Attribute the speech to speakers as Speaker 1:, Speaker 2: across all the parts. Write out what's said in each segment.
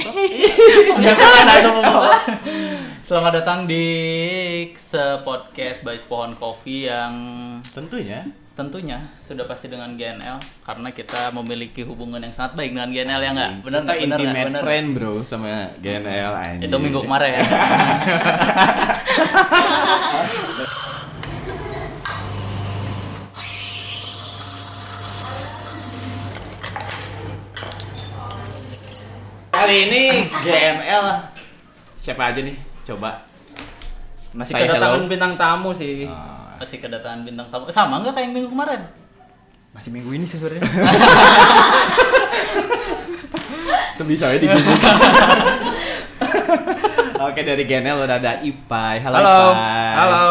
Speaker 1: Iya,
Speaker 2: Sudah kan atau apa? Selamat datang di podcast by Pohon Coffee yang
Speaker 1: Tentunya.
Speaker 2: tentunya sudah pasti dengan GNL karena kita memiliki hubungan yang sangat baik dengan GNL ya nggak? Bener nggak?
Speaker 1: Kita
Speaker 2: Bener nggak?
Speaker 1: intimate
Speaker 2: Bener.
Speaker 1: friend bro sama GNL anjing.
Speaker 2: Itu minggu kemarin ya.
Speaker 1: Kali ini GNL siapa aja nih? Coba.
Speaker 3: Masih
Speaker 1: Saya
Speaker 3: kedatangan
Speaker 1: hello.
Speaker 3: bintang tamu sih.
Speaker 1: Ah,
Speaker 2: Masih kedatangan bintang tamu. Sama nggak kayak yang minggu kemarin?
Speaker 3: Masih minggu ini sih sebenarnya.
Speaker 1: Itu bisa ya digigit. Oke dari GNL udah ada Ipai. Halo, ya.
Speaker 3: Halo.
Speaker 1: Ipai.
Speaker 3: Halo.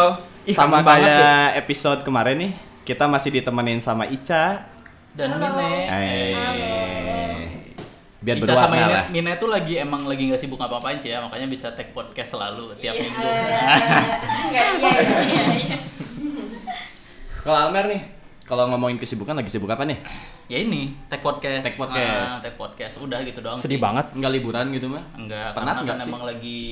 Speaker 3: Ih,
Speaker 1: Sama
Speaker 3: kangen banget ya.
Speaker 1: kayak episode kemarin nih, kita masih ditemenin sama Ica.
Speaker 2: Dan Mine.
Speaker 1: Eh, Biar
Speaker 2: Ica
Speaker 1: berwarna
Speaker 2: sama Mine,
Speaker 1: lah.
Speaker 2: Mine tuh lagi emang lagi nggak sibuk apa-apain sih ya, makanya bisa tag podcast selalu tiap
Speaker 4: Iya.
Speaker 2: minggu.
Speaker 4: Enggak, iya, iya, iya, iya.
Speaker 1: Kalau Almer nih, kalau ngomongin kesibukan lagi sibuk apa nih?
Speaker 2: ya ini tag podcast.
Speaker 1: Tag podcast.
Speaker 2: Ah, tag podcast. Udah gitu doang.
Speaker 3: Sedih
Speaker 2: sih.
Speaker 3: banget.
Speaker 1: Nggak liburan gitu mah?
Speaker 2: Enggak,
Speaker 1: Penat
Speaker 2: karena
Speaker 1: nggak
Speaker 2: kan
Speaker 1: sih?
Speaker 2: emang lagi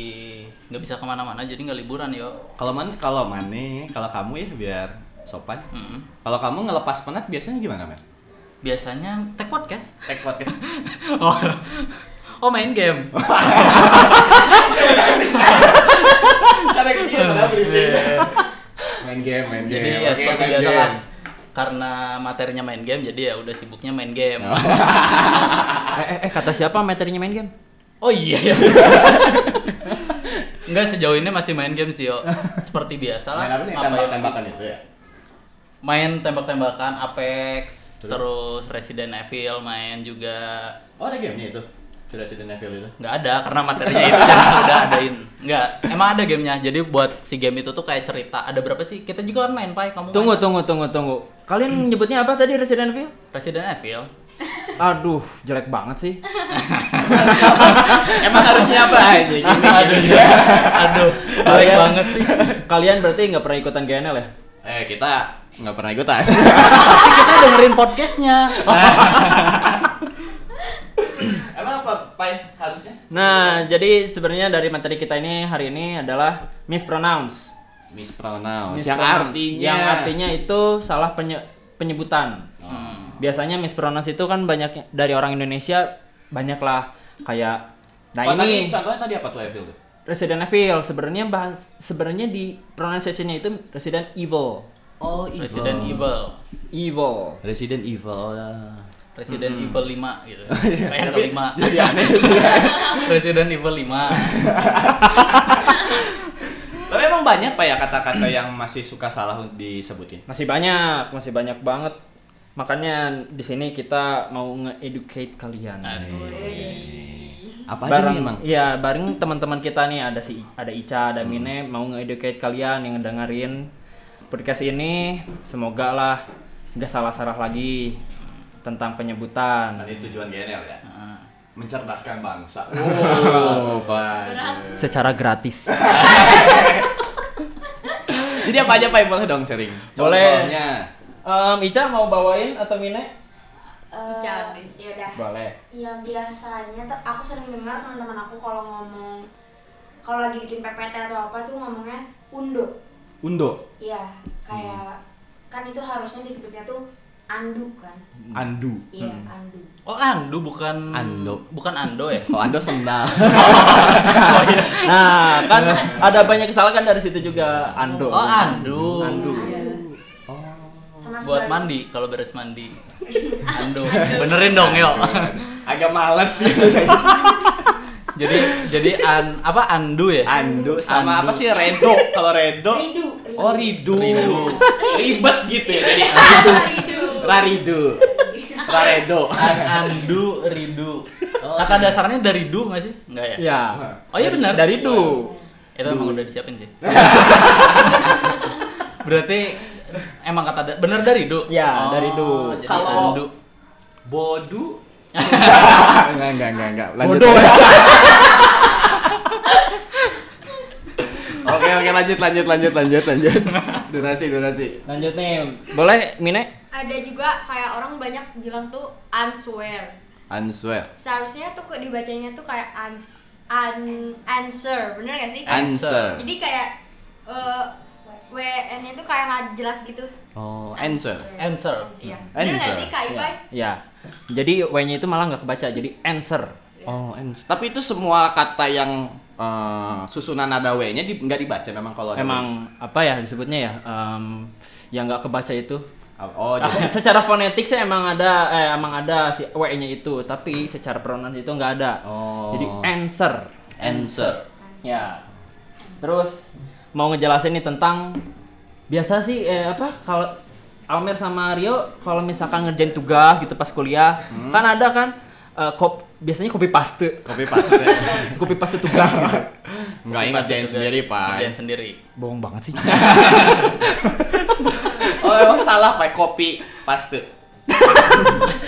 Speaker 2: nggak bisa kemana-mana jadi nggak liburan yo.
Speaker 1: Kalau man, kalau mana? Kalau kamu ya biar sopan.
Speaker 2: Mm-mm.
Speaker 1: Kalau kamu ngelepas penat biasanya gimana, Mer?
Speaker 2: Biasanya tag podcast.
Speaker 1: Take podcast.
Speaker 2: Oh, oh main game.
Speaker 1: Karena gitu
Speaker 3: Hmm.
Speaker 1: lah
Speaker 3: Iya.
Speaker 1: Main game, main game.
Speaker 2: jadi ya seperti biasa lah. Karena materinya main game, jadi ya udah sibuknya main game.
Speaker 1: Oh.
Speaker 3: Eh, eh, eh, kata siapa materinya main game?
Speaker 2: Oh iya. ya. Enggak sejauh ini masih main game sih yo. Seperti biasa lah. Ngapain-
Speaker 1: itu ya?
Speaker 2: Main tembak-tembakan Apex,
Speaker 1: Terus?
Speaker 2: terus Resident Evil main juga.
Speaker 1: Oh, ada gamenya itu. Sudah Resident Evil itu.
Speaker 2: Nggak ada karena materinya itu udah udah adain. Nggak, emang ada gamenya. Jadi buat si game itu tuh kayak cerita. Ada berapa sih? Kita juga kan main Pai, kamu
Speaker 3: Tunggu,
Speaker 2: main.
Speaker 3: tunggu, tunggu, tunggu. Kalian nyebutnya apa tadi Resident Evil?
Speaker 2: Resident Evil.
Speaker 3: Aduh, jelek banget sih.
Speaker 1: Emang harusnya apa anjing?
Speaker 2: aduh, aduh, jelek
Speaker 3: Kalian-
Speaker 2: banget sih.
Speaker 3: Kalian berarti nggak pernah ikutan GNL ya?
Speaker 1: Eh, kita nggak pernah ikutan.
Speaker 2: Tapi kita dengerin podcastnya.
Speaker 1: Emang apa, Pai? Harusnya?
Speaker 3: Nah, jadi sebenarnya dari materi kita ini hari ini adalah mispronounce.
Speaker 1: Mispronounce. Yang
Speaker 3: Mispronounce.
Speaker 1: artinya.
Speaker 3: yang artinya itu salah penye- penyebutan.
Speaker 1: Hmm.
Speaker 3: Biasanya mispronounce itu kan banyak dari orang Indonesia banyak lah kayak nah
Speaker 1: oh, tadi,
Speaker 3: ini
Speaker 1: contohnya tadi apa tuh Evil tuh?
Speaker 3: Resident Evil sebenarnya bahas sebenarnya di pronunciation-nya itu Resident Evil.
Speaker 1: Oh,
Speaker 2: Resident Evil.
Speaker 3: Evil.
Speaker 1: Resident Evil lah.
Speaker 2: Resident Evil 5 gitu. Kayak yang kelima.
Speaker 1: Jadi aneh.
Speaker 2: Resident Evil 5.
Speaker 1: Tapi emang banyak pak ya kata-kata yang masih suka salah disebutin.
Speaker 3: Masih banyak, masih banyak banget. Makanya di sini kita mau nge-educate kalian.
Speaker 2: Asik.
Speaker 1: Apa aja
Speaker 3: bareng
Speaker 1: nih emang?
Speaker 3: Iya, bareng teman-teman kita nih ada si ada Ica, ada Mine mau nge-educate kalian yang dengerin podcast ini. Semoga lah nggak salah-salah lagi tentang penyebutan.
Speaker 1: Tadi tujuan GNL ya,
Speaker 2: Nah.
Speaker 1: mencerdaskan bangsa. Oh, pak.
Speaker 3: Secara gratis.
Speaker 1: Jadi apa aja pak boleh dong sharing?
Speaker 3: Boleh.
Speaker 1: Contohnya.
Speaker 3: Em, Ica mau bawain atau Mine?
Speaker 4: Eh,
Speaker 5: Jadi.
Speaker 4: yaudah.
Speaker 3: Boleh.
Speaker 4: yang biasanya tuh aku sering dengar teman-teman aku kalau ngomong kalau lagi bikin PPT atau apa tuh ngomongnya undo
Speaker 1: Undo,
Speaker 4: ya kayak kan itu harusnya disebutnya tuh andu kan
Speaker 1: Hmm. andu.
Speaker 4: iya andu
Speaker 2: Oh, Andu bukan
Speaker 1: Ando.
Speaker 2: Bukan Ando ya?
Speaker 1: Oh, ando sendal.
Speaker 3: Nah, kan ada banyak kesalahan kan dari situ juga Ando.
Speaker 2: Oh, Andu.
Speaker 3: Andu.
Speaker 2: Buat
Speaker 4: sama sebalik-
Speaker 2: mandi kalau beres mandi. Ando. Benerin dong, yo.
Speaker 1: Agak males gitu saya.
Speaker 2: jadi jadi an apa Andu ya?
Speaker 1: Ando sama
Speaker 2: Andu.
Speaker 1: apa sih redo? Kalau redo,
Speaker 4: ridu
Speaker 1: oh ridu.
Speaker 2: Ridu.
Speaker 1: Ribet gitu ya jadi.
Speaker 5: Aduh.
Speaker 1: Raridu. Raredo.
Speaker 2: An- Andu Ridu.
Speaker 1: Oh.
Speaker 2: Kata dasarnya dari du nggak sih? Enggak ya?
Speaker 3: iya. Ya.
Speaker 2: Oh iya benar.
Speaker 3: Dari Du.
Speaker 2: Itu emang udah disiapin sih. Berarti emang kata da- bener dari du. Oh,
Speaker 3: Ya, dari Du.
Speaker 2: jadi
Speaker 1: Kalau-
Speaker 2: Andu.
Speaker 1: Bodu. enggak, enggak, enggak, enggak. Lanjut.
Speaker 3: Bodoh.
Speaker 1: Oke, oke, lanjut, lanjut, lanjut, lanjut, lanjut. Durasi, durasi.
Speaker 3: Lanjut nih. Boleh Mine?
Speaker 5: Ada juga kayak orang banyak bilang tuh unswear.
Speaker 1: Answer.
Speaker 5: Seharusnya tuh kok dibacanya tuh kayak ans ans answer, bener gak sih?
Speaker 1: Answer.
Speaker 5: Jadi kayak WN-nya tuh kayak nggak jelas gitu.
Speaker 1: Oh, answer. Hmm.
Speaker 2: Answer.
Speaker 5: Iya. Bener nggak
Speaker 1: Answer.
Speaker 5: sih Kak Ipai?
Speaker 3: Ya. Jadi W-nya itu malah nggak kebaca, jadi answer.
Speaker 1: Oh, answer. Tapi itu semua kata yang eh, susunan nada W-nya di, nggak dibaca memang kalau ada W.
Speaker 3: Emang apa ya disebutnya ya? Em, yang nggak kebaca itu.
Speaker 1: Oh, jadi-
Speaker 3: secara fonetik sih emang ada eh, emang ada si W-nya itu, tapi secara pronunciation itu nggak ada.
Speaker 1: Oh.
Speaker 3: Jadi answer.
Speaker 1: answer.
Speaker 3: Ya. Terus mau ngejelasin nih tentang biasa sih eh, apa kalau Almer sama Rio kalau misalkan ngerjain tugas gitu pas kuliah kan ada kan eh, kop biasanya copy paste
Speaker 1: Copy paste.
Speaker 3: copy paste tugas gitu.
Speaker 1: Enggak ingat
Speaker 2: Pasti
Speaker 1: dia
Speaker 2: tugas.
Speaker 1: sendiri,
Speaker 2: Ngerjain
Speaker 1: Pak.
Speaker 2: sendiri.
Speaker 3: bohong banget sih
Speaker 1: Oh, emang salah, Pak. Copy paste.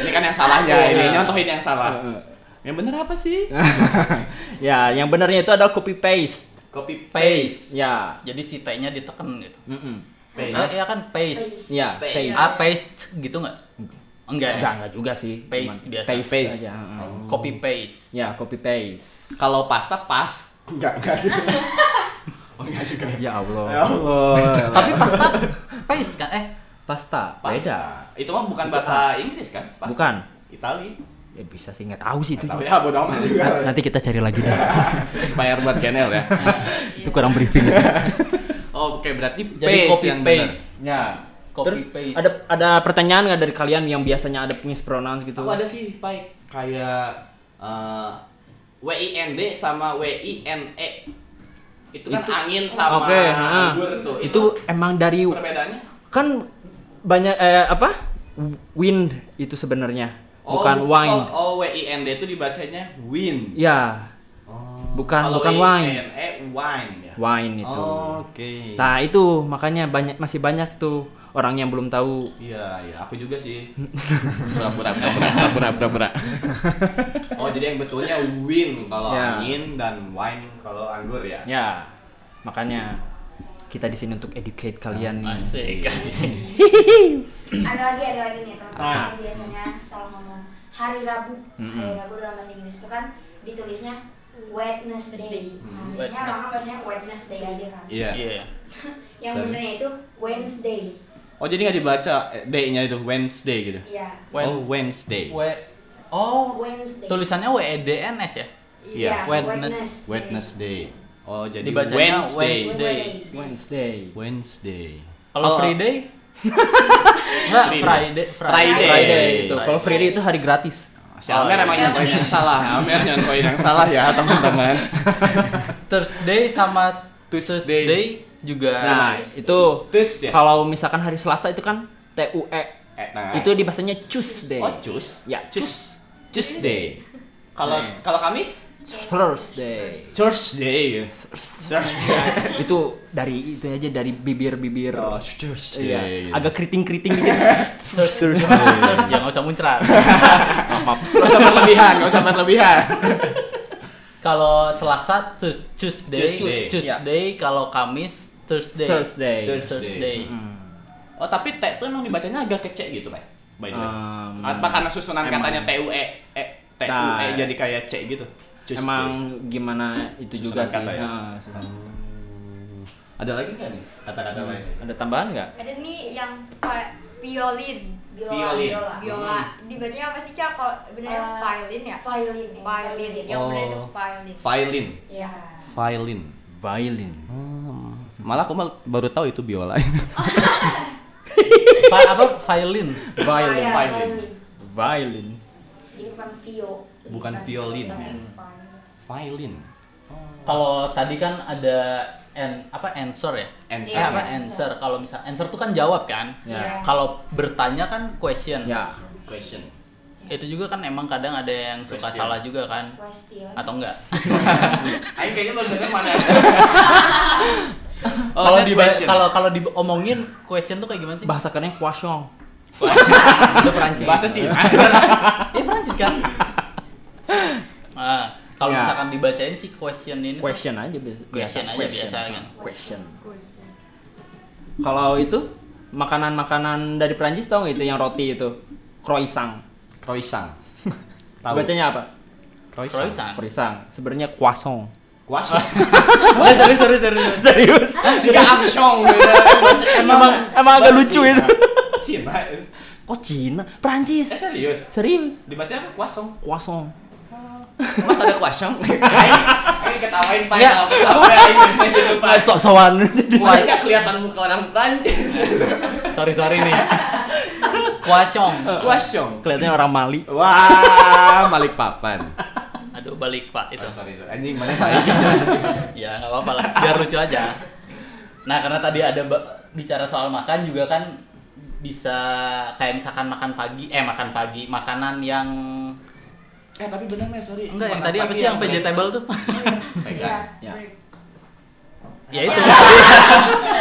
Speaker 1: ini kan yang salahnya, ini nyontohin yang salah. Iya. Yang bener apa sih?
Speaker 3: ya yang benarnya itu adalah copy paste
Speaker 1: Copy
Speaker 2: Paste.
Speaker 3: ya
Speaker 2: Jadi si T-nya ditekan gitu.
Speaker 3: Mm-mm.
Speaker 2: Eh, iya kan paste.
Speaker 3: ya
Speaker 1: Paste.
Speaker 3: paste
Speaker 2: Ah, paste gitu nggak? Enggak. ya?
Speaker 3: enggak enggak juga sih
Speaker 2: Paste
Speaker 3: Cuman
Speaker 2: biasa.
Speaker 3: paste,
Speaker 1: Paste.
Speaker 3: aja, mm.
Speaker 2: Copy paste.
Speaker 3: ya copy paste
Speaker 1: Kalau pasta pas. Enggak, enggak juga. Oh, enggak juga.
Speaker 3: ya
Speaker 1: Ya
Speaker 3: Allah
Speaker 1: Allah.
Speaker 2: Tapi pasta paste kan? Eh,
Speaker 3: pasta
Speaker 1: Pasta.
Speaker 3: beda
Speaker 1: Itu mah bukan bahasa Inggris kan? Pasta.
Speaker 3: bukan
Speaker 1: Itali.
Speaker 3: ya bisa sih nggak tahu sih itu
Speaker 1: Tapi
Speaker 3: juga.
Speaker 1: ya bodo amat juga.
Speaker 3: nanti kita cari lagi deh
Speaker 1: Bayar buat Genel ya.
Speaker 3: itu kurang briefing
Speaker 1: Oke, berarti
Speaker 2: jadi
Speaker 1: paste
Speaker 2: copy
Speaker 1: yang benar.
Speaker 2: paste.
Speaker 3: ya
Speaker 2: Copy
Speaker 3: terus
Speaker 2: paste.
Speaker 3: ada ada pertanyaan nggak dari kalian yang biasanya ada mispronounce gitu
Speaker 1: Aku ada sih, Pai. Kayak eh, WIND sama WINE. E. Itu kan angin sama
Speaker 3: Oke, ha.
Speaker 1: anggur tuh.
Speaker 3: itu emang dari
Speaker 1: perbedaannya?
Speaker 3: kan banyak eh, apa wind itu sebenarnya bukan
Speaker 1: bu-
Speaker 3: wine
Speaker 1: Oh, oh WIND itu dibacanya win.
Speaker 3: ya bukan
Speaker 1: Kalau
Speaker 3: bukan wine
Speaker 1: WINE, wine ya.
Speaker 3: wine itu
Speaker 1: Oke.
Speaker 3: nah itu makanya banyak masih banyak tuh orang yang belum tahu
Speaker 1: Iya, iya, aku juga sih. Pura-pura, pura-pura, pura-pura, pura. Oh, jadi yang betulnya win kalau
Speaker 3: Ya.
Speaker 1: angin dan wine kalau anggur ya.
Speaker 3: ya makanya kita di sini untuk educate kalian nih
Speaker 2: Ah, Asik. asik.
Speaker 1: Iya.
Speaker 4: ada lagi ada lagi nih teman-teman
Speaker 3: Nah.
Speaker 4: yang biasanya salah ngomong hari Rabu
Speaker 1: Hmm.
Speaker 4: hari Rabu dalam bahasa Inggris itu kan ditulisnya Wednesday nah, biasanya orang orang bacanya Wednesday aja kan
Speaker 1: Hmm. Iya.
Speaker 2: Iya.
Speaker 4: yang
Speaker 1: Sorry.
Speaker 4: benernya itu Wednesday
Speaker 1: Oh, jadi nggak dibaca eh, day-nya itu Wednesday gitu.
Speaker 4: iya
Speaker 2: Wen-
Speaker 1: oh, Wednesday.
Speaker 2: W Oh,
Speaker 4: Wednesday
Speaker 2: tulisannya W E D N S ya?
Speaker 1: Iya.
Speaker 4: iya
Speaker 2: Wednes-
Speaker 1: Wednesday. Oh, jadi
Speaker 2: Dibacanya
Speaker 1: Wednesday.
Speaker 2: Wednesday.
Speaker 3: Wednesday
Speaker 1: Wednesday.
Speaker 2: Kalau Friday? Enggak,
Speaker 1: Friday.
Speaker 2: Friday.
Speaker 1: Friday.
Speaker 3: Friday itu
Speaker 2: Friday.
Speaker 3: kalau Friday itu hari gratis
Speaker 1: Si Amer
Speaker 2: Oh,
Speaker 1: emang nyontoin yang salah. Amer nyontoin yang salah ya, teman-teman.
Speaker 2: Thursday sama
Speaker 1: Tuesday.
Speaker 2: Tuesday, juga.
Speaker 3: nah itu
Speaker 1: Terus ya.
Speaker 3: kalau misalkan hari Selasa itu kan T U E
Speaker 1: Eh, nah.
Speaker 3: itu di bahasanya Tuesday
Speaker 1: Oh, cus.
Speaker 3: Ya,
Speaker 1: cus. Tuesday. Kalau kalau Kamis
Speaker 3: Thursday
Speaker 1: Thursday. Thursday. Oh,
Speaker 3: itu dari itu aja dari bibir-bibir Iya,
Speaker 1: Thursday.
Speaker 3: agak keriting-keriting gitu.
Speaker 2: Thursday.
Speaker 1: Thursday.
Speaker 2: Ya nggak usah muncrat.
Speaker 1: Gak usah berlebihan, gak usah berlebihan.
Speaker 2: Kalau Selasa Tues- Tuesday,
Speaker 1: Tuesday.
Speaker 2: Tuesday, kalau Kamis Thursday.
Speaker 3: Thursday.
Speaker 2: Thursday.
Speaker 1: Oh, tapi T itu emang dibacanya agak kece gitu, Pak. By the way.
Speaker 3: Um,
Speaker 1: Apa karena susunan
Speaker 3: emang.
Speaker 1: katanya TUE, eh, TUE
Speaker 3: Nah.
Speaker 1: jadi kayak C gitu. Tuesday.
Speaker 3: Emang gimana itu
Speaker 1: Susunan
Speaker 3: juga sih.
Speaker 1: kata ya?
Speaker 3: Nah, susunan.
Speaker 1: ada lagi nggak nih kata-kata lain?
Speaker 3: Ada tambahan nggak?
Speaker 5: Ada nih yang kayak violin,
Speaker 4: biola
Speaker 1: Violin.
Speaker 4: biola
Speaker 5: biola. Dibacanya apa sih Cak? Kalau benernya
Speaker 4: Eh,
Speaker 5: violin ya?
Speaker 4: violin eh,
Speaker 5: Violin. Yang bener itu
Speaker 1: Oh.
Speaker 5: violin.
Speaker 1: Violin.
Speaker 4: iya
Speaker 1: Violin.
Speaker 3: Violin.
Speaker 1: Malah aku mal- baru tahu itu biola.
Speaker 2: Pa- apa violin?
Speaker 3: Violin.
Speaker 4: Iya,
Speaker 1: violin.
Speaker 3: Violin.
Speaker 4: jadi bukan vio
Speaker 1: Bukan violin,
Speaker 4: tapi
Speaker 1: ya.
Speaker 4: violin.
Speaker 1: Violin.
Speaker 2: Kalau tadi kan ada an apa answer ya?
Speaker 1: Answer.
Speaker 2: Eh, apa
Speaker 4: Iya.
Speaker 2: answer? Kalau misal answer tuh kan jawab kan?
Speaker 4: Iya.
Speaker 2: Kalau bertanya kan question.
Speaker 3: Ya.
Speaker 1: Question.
Speaker 2: Itu juga kan emang kadang ada yang suka
Speaker 1: Question.
Speaker 2: salah juga kan?
Speaker 4: question Iya.
Speaker 2: Atau enggak?
Speaker 1: Ayo kayaknya baru denger mana. Oh,
Speaker 2: Kalau
Speaker 1: that
Speaker 2: di
Speaker 1: question.
Speaker 2: kalau kalau diomongin question tuh kayak gimana sih?
Speaker 3: Bahasa kerennya kwasong.
Speaker 2: Itu Perancis.
Speaker 1: bahasa Cina.
Speaker 2: Iya Perancis kan? Nah, kalau
Speaker 3: Ya.
Speaker 2: misalkan dibacain si question ini tuh
Speaker 3: Question aja biasa.
Speaker 2: Question aja biasa kan.
Speaker 3: Question.
Speaker 5: Question.
Speaker 3: Kalau itu makanan-makanan dari Prancis tau nggak itu yang roti itu? Croissant.
Speaker 1: Croissant. Tahu.
Speaker 3: Bacanya apa?
Speaker 2: Croissant.
Speaker 3: Perisang. Sebenarnya croissant.
Speaker 1: Kuasa.
Speaker 2: Eh, serius, serius, serius.
Speaker 3: Serius?
Speaker 2: Enggak amsyong gitu.
Speaker 3: emang emang agak lucu itu.
Speaker 1: Cina.
Speaker 3: Kok Cina?
Speaker 1: Eh
Speaker 3: Perancis.
Speaker 1: serius.
Speaker 3: Serius?
Speaker 1: Dibaca apa? Kuasong.
Speaker 3: Croissant.
Speaker 2: Mas ada kuasong?
Speaker 1: Ini ketawain Pak.
Speaker 2: Iya.
Speaker 1: Apa ini? Gitu, Pak.
Speaker 3: Sok-sokan.
Speaker 1: Mukanya nggak kelihatan muka orang Prancis.
Speaker 2: Sorry, sorry nih. Kuasong.
Speaker 1: Kuasong.
Speaker 3: Kelihatannya orang Mali.
Speaker 1: Wah, Malik Papan.
Speaker 2: Aduh, balik Pak itu.
Speaker 1: Oh, sorry, sorry. Anjing mana Malik?
Speaker 2: Ya, nggak apa-apa lah. Biar lucu aja. Nah, karena tadi ada ba- bicara soal makan juga kan bisa kayak misalkan makan pagi, eh makan pagi, makanan yang
Speaker 1: Eh tapi benar nih, sorry.
Speaker 2: enggak yang tadi apa sih yang vegetable tuh?
Speaker 4: Iya.
Speaker 3: Ya.
Speaker 4: break.
Speaker 2: ya itu.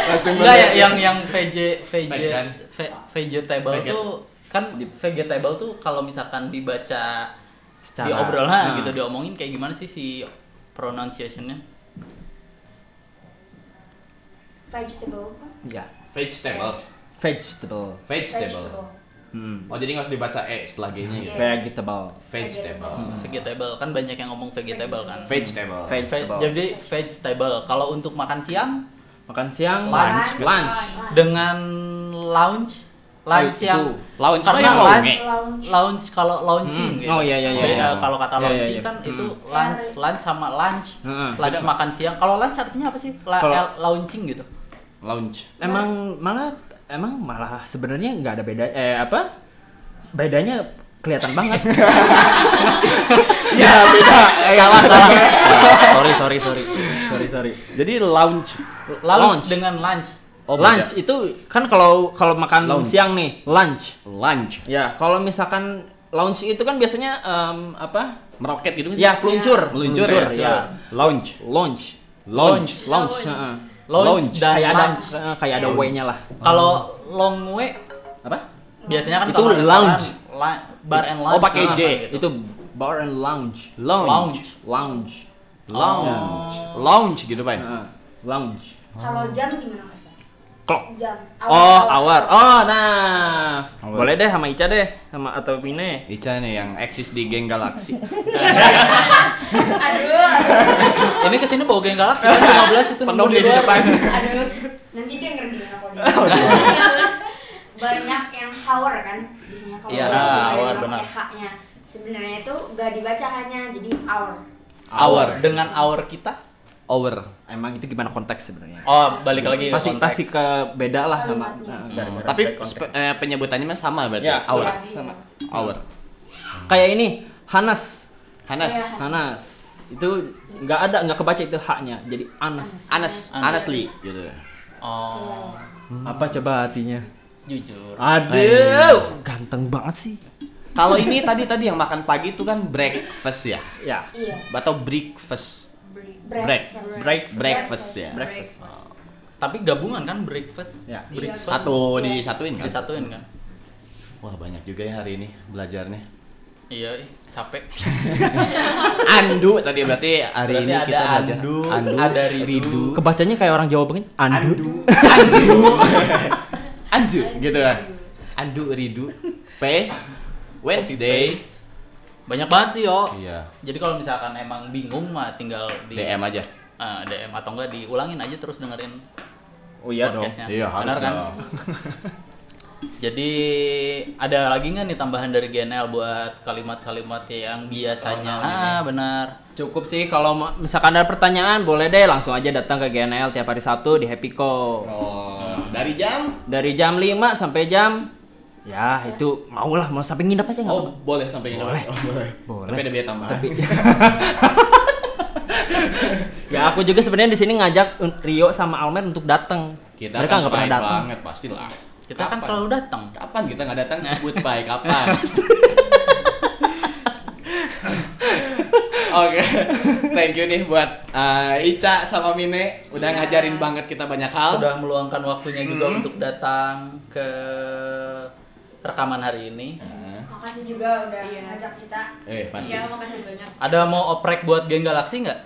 Speaker 1: Langsung
Speaker 2: Enggak ya, yang yang VJ VJ
Speaker 1: Vegan.
Speaker 2: ve- vegetable
Speaker 1: Veget.
Speaker 2: tuh kan vegetable tuh kalau misalkan dibaca
Speaker 3: Secara-
Speaker 2: diobrolan lah
Speaker 3: Nah.
Speaker 2: gitu diomongin kayak gimana sih si pronunciationnya
Speaker 4: Vegetable.
Speaker 3: Ya.
Speaker 1: vegetable.
Speaker 3: Vegetable.
Speaker 1: Vegetable.
Speaker 3: Hmm.
Speaker 1: Oh jadi nggak used dibaca e setelah g-nya gitu.
Speaker 4: Iya.
Speaker 3: Vegetable.
Speaker 1: Vegetable.
Speaker 3: Hmm.
Speaker 2: vegetable kan banyak yang ngomong vegetable kan
Speaker 1: Vegetable.
Speaker 3: Veg-
Speaker 2: Ve- jadi vegetable kalau untuk makan siang
Speaker 3: Makan siang.
Speaker 2: Lunch.
Speaker 3: Lunch.
Speaker 2: dengan lounge lunch
Speaker 3: Oh, itu.
Speaker 2: yang
Speaker 1: Lounge
Speaker 2: Karena
Speaker 1: yang
Speaker 2: lunch.
Speaker 1: lounge.
Speaker 4: Lounge.
Speaker 2: lounge kalau launching
Speaker 3: Hmm. Oh, iya, iya, iya,
Speaker 2: Beda
Speaker 1: iya.
Speaker 2: kalau kata
Speaker 3: Iya, iya,
Speaker 2: launching
Speaker 3: iya.
Speaker 2: kan itu
Speaker 3: Hmm.
Speaker 2: lunch lunch sama lunch
Speaker 3: Heeh.
Speaker 2: lunch makan siang kalau lunch artinya apa sih La-
Speaker 3: Kalau-
Speaker 2: L- launching gitu
Speaker 1: Lounge.
Speaker 3: Emang malah emang malah sebenarnya nggak ada beda eh apa? Bedanya kelihatan banget.
Speaker 1: Ya beda.
Speaker 3: eh, salah, salah. Eh, sorry, sorry, sorry. Sorry, sorry.
Speaker 1: Jadi lounge.
Speaker 2: lounge,
Speaker 3: Lounge.
Speaker 2: dengan lunch
Speaker 1: Oh,
Speaker 3: lunch itu kan kalau kalau makan
Speaker 1: Lounge.
Speaker 3: siang nih, lunch.
Speaker 1: Lunch.
Speaker 3: Ya, kalau misalkan lounge itu kan biasanya em, apa?
Speaker 1: Meroket gitu kan?
Speaker 3: Ya, peluncur.
Speaker 1: Meluncur ya.
Speaker 3: ya.
Speaker 1: Lounge.
Speaker 3: Lounge.
Speaker 1: Lounge.
Speaker 3: Lounge.
Speaker 5: Lounge.
Speaker 3: heeh.
Speaker 2: lounge,
Speaker 1: Lounge.
Speaker 2: dan
Speaker 3: Kayak ada
Speaker 2: lunch
Speaker 3: eh, kayak ada
Speaker 1: Lounge.
Speaker 3: W-nya lah.
Speaker 2: kalau long way
Speaker 3: Apa?
Speaker 2: biasanya kan
Speaker 3: Itu
Speaker 2: kalau restoran,
Speaker 3: lounge.
Speaker 2: la- bar and
Speaker 1: Oh,
Speaker 2: lounge
Speaker 1: pakai
Speaker 2: sama
Speaker 1: J.
Speaker 2: kayak gitu.
Speaker 3: Itu bar and lounge.
Speaker 1: Lounge.
Speaker 2: lounge Oh.
Speaker 3: Lounge.
Speaker 1: Lounge. Lounge gitu, Pak.
Speaker 3: Heeh. Lounge.
Speaker 4: Kalau jam gimana Pak?
Speaker 3: Clock.
Speaker 4: Jam.
Speaker 3: Oh, hour. Oh, nah.
Speaker 1: Hour.
Speaker 3: Boleh deh sama Ica deh, sama atau Mine.
Speaker 1: Ica nih yang eksis di geng galaksi.
Speaker 4: Aduh, aduh,
Speaker 2: ini kesini bawa geng galaksi kan 15 itu
Speaker 1: Penuh
Speaker 2: nunggu
Speaker 1: dia di
Speaker 2: luar.
Speaker 1: depan.
Speaker 4: aduh. Nanti dia ngerti gimana kalau dia. Banyak yang hour kan biasanya kalau
Speaker 2: Iya,
Speaker 4: orang
Speaker 2: hour,
Speaker 4: Jerman pakai
Speaker 2: benar.
Speaker 4: H-nya. Sebenarnya itu gak dibaca hanya jadi hour.
Speaker 2: hour dengan hour kita
Speaker 1: Over.
Speaker 3: Emang itu gimana konteks sebenarnya?
Speaker 2: oh balik lagi ke
Speaker 3: Iya, pasti
Speaker 2: konteks.
Speaker 3: pasti ke beda lah sama
Speaker 4: Kalimatnya.
Speaker 3: nah, gara-gara
Speaker 1: Tapi
Speaker 3: beda konteks.
Speaker 1: spe- eh, penyebutannya mah sama berarti.
Speaker 3: Ya,
Speaker 1: hour.
Speaker 4: Iya, iya.
Speaker 3: Sama.
Speaker 1: Hour.
Speaker 3: kayak ini Hanas
Speaker 1: Hanas.
Speaker 4: Iya.
Speaker 3: Hanas itu nggak ada nggak kebaca itu haknya jadi Anas
Speaker 1: Anas, Anasli gitu.
Speaker 2: oh
Speaker 3: apa coba hatinya
Speaker 2: jujur
Speaker 3: aduh ganteng banget sih
Speaker 1: Kalau ini tadi tadi yang makan pagi itu kan breakfast ya.
Speaker 3: ya
Speaker 4: Iya.
Speaker 1: Atau breakfast.
Speaker 4: Breakfast.
Speaker 3: break
Speaker 1: Breakfast ya.
Speaker 3: breakfast
Speaker 2: tapi gabungan kan breakfast
Speaker 3: Ya.
Speaker 2: breakfast
Speaker 1: Satu disatuin kan?
Speaker 2: disatuin kan
Speaker 1: Wah, banyak juga ya hari ini belajarnya.
Speaker 2: iya ih, capek
Speaker 1: Andu tadi berarti
Speaker 2: Berarti
Speaker 1: hari ini
Speaker 2: ada
Speaker 1: kita belajar
Speaker 2: Andu, ada Ridu.
Speaker 3: kebacanya kayak orang Jawa banget Andu
Speaker 1: Andu. Andu. Andu gitu kan. Andu Ridu. Pace Wednesday.
Speaker 2: Copy paste. banyak banget sih yo
Speaker 1: Iya.
Speaker 2: jadi kalau misalkan emang bingung mah tinggal di
Speaker 1: DM aja.
Speaker 2: eh, DM atau enggak diulangin aja terus dengerin
Speaker 3: oh iya dong
Speaker 2: podcastnya
Speaker 1: Iya, harus
Speaker 2: benar kan
Speaker 1: dong.
Speaker 2: jadi ada lagi nggak nih tambahan dari GNL buat kalimat-kalimat yang biasanya ah benar
Speaker 3: cukup sih kalau ma- misalkan ada pertanyaan boleh deh langsung aja datang ke GNL tiap hari Sabtu di Happy Co
Speaker 1: Oh, dari jam
Speaker 3: dari jam 5 sampai jam ya itu maulah mau sampai nginep aja nggak
Speaker 1: Oh, boleh sampai ini.
Speaker 3: Boleh.
Speaker 1: Oh, boleh.
Speaker 3: Boleh.
Speaker 1: Tapi ada biaya tambahan.
Speaker 3: Ya aku juga sebenarnya di sini ngajak Un- Rio sama Almer untuk datang.
Speaker 1: kita
Speaker 3: Mereka
Speaker 1: kan
Speaker 3: nggak pernah
Speaker 1: pride
Speaker 3: datang.
Speaker 1: banget pastilah.
Speaker 2: kita kan
Speaker 1: Kapan?
Speaker 2: selalu datang
Speaker 1: kapan kita nggak datang sebut baik kapan. Oke, thank you nih buat uh, Ica sama Mine udah
Speaker 5: Iya.
Speaker 1: ngajarin banget kita banyak hal.
Speaker 2: sudah meluangkan waktunya juga untuk datang ke rekaman hari ini.
Speaker 1: Nah,
Speaker 4: Makasih juga udah
Speaker 5: Iya.
Speaker 4: ngajak kita.
Speaker 1: eh pasti.
Speaker 5: Iya, makasih banyak.
Speaker 2: Ada mau oprek buat geng galaksi nggak?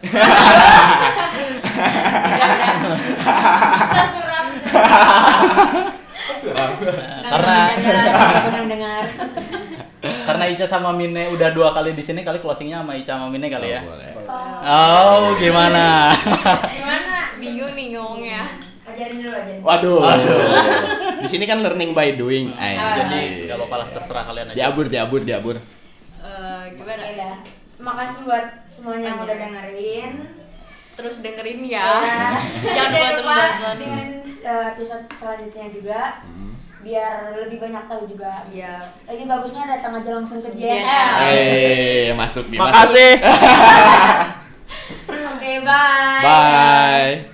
Speaker 4: Bisa suram.
Speaker 2: Karena
Speaker 5: Karena pernah mendengar.
Speaker 2: Karena Ica sama Mine udah dua kali di sini, kali closingnya sama Ica sama
Speaker 1: Iya,
Speaker 2: Mine kali ya.
Speaker 1: Boleh.
Speaker 2: Oh, gimana?
Speaker 5: Gimana?
Speaker 4: bingung nih ngomongnya
Speaker 5: Ajarin dulu ajarin.
Speaker 1: Waduh. Di sini kan learning by doing. Ay,
Speaker 2: Jadi nggak apa-apa lah terserah kalian aja.
Speaker 1: Diabur, diabur, diabur.
Speaker 4: Eh,
Speaker 5: Oke
Speaker 4: gimana
Speaker 5: Iya, dah. Makasih buat semuanya yang udah dengerin.
Speaker 4: terus dengerin
Speaker 5: Ya.
Speaker 4: ya
Speaker 5: Jangan
Speaker 4: Jangan
Speaker 5: lupa
Speaker 4: bosan-bosan.
Speaker 5: dengerin eh, episode selanjutnya juga biar lebih banyak tahu juga.
Speaker 4: iya
Speaker 5: Lebih bagusnya datang aja langsung ke
Speaker 4: Iya.
Speaker 5: JNL.
Speaker 1: Eh,
Speaker 3: Iya.
Speaker 1: masuk di masuk.
Speaker 6: Makasih.
Speaker 5: Oke, bye.
Speaker 1: Bye.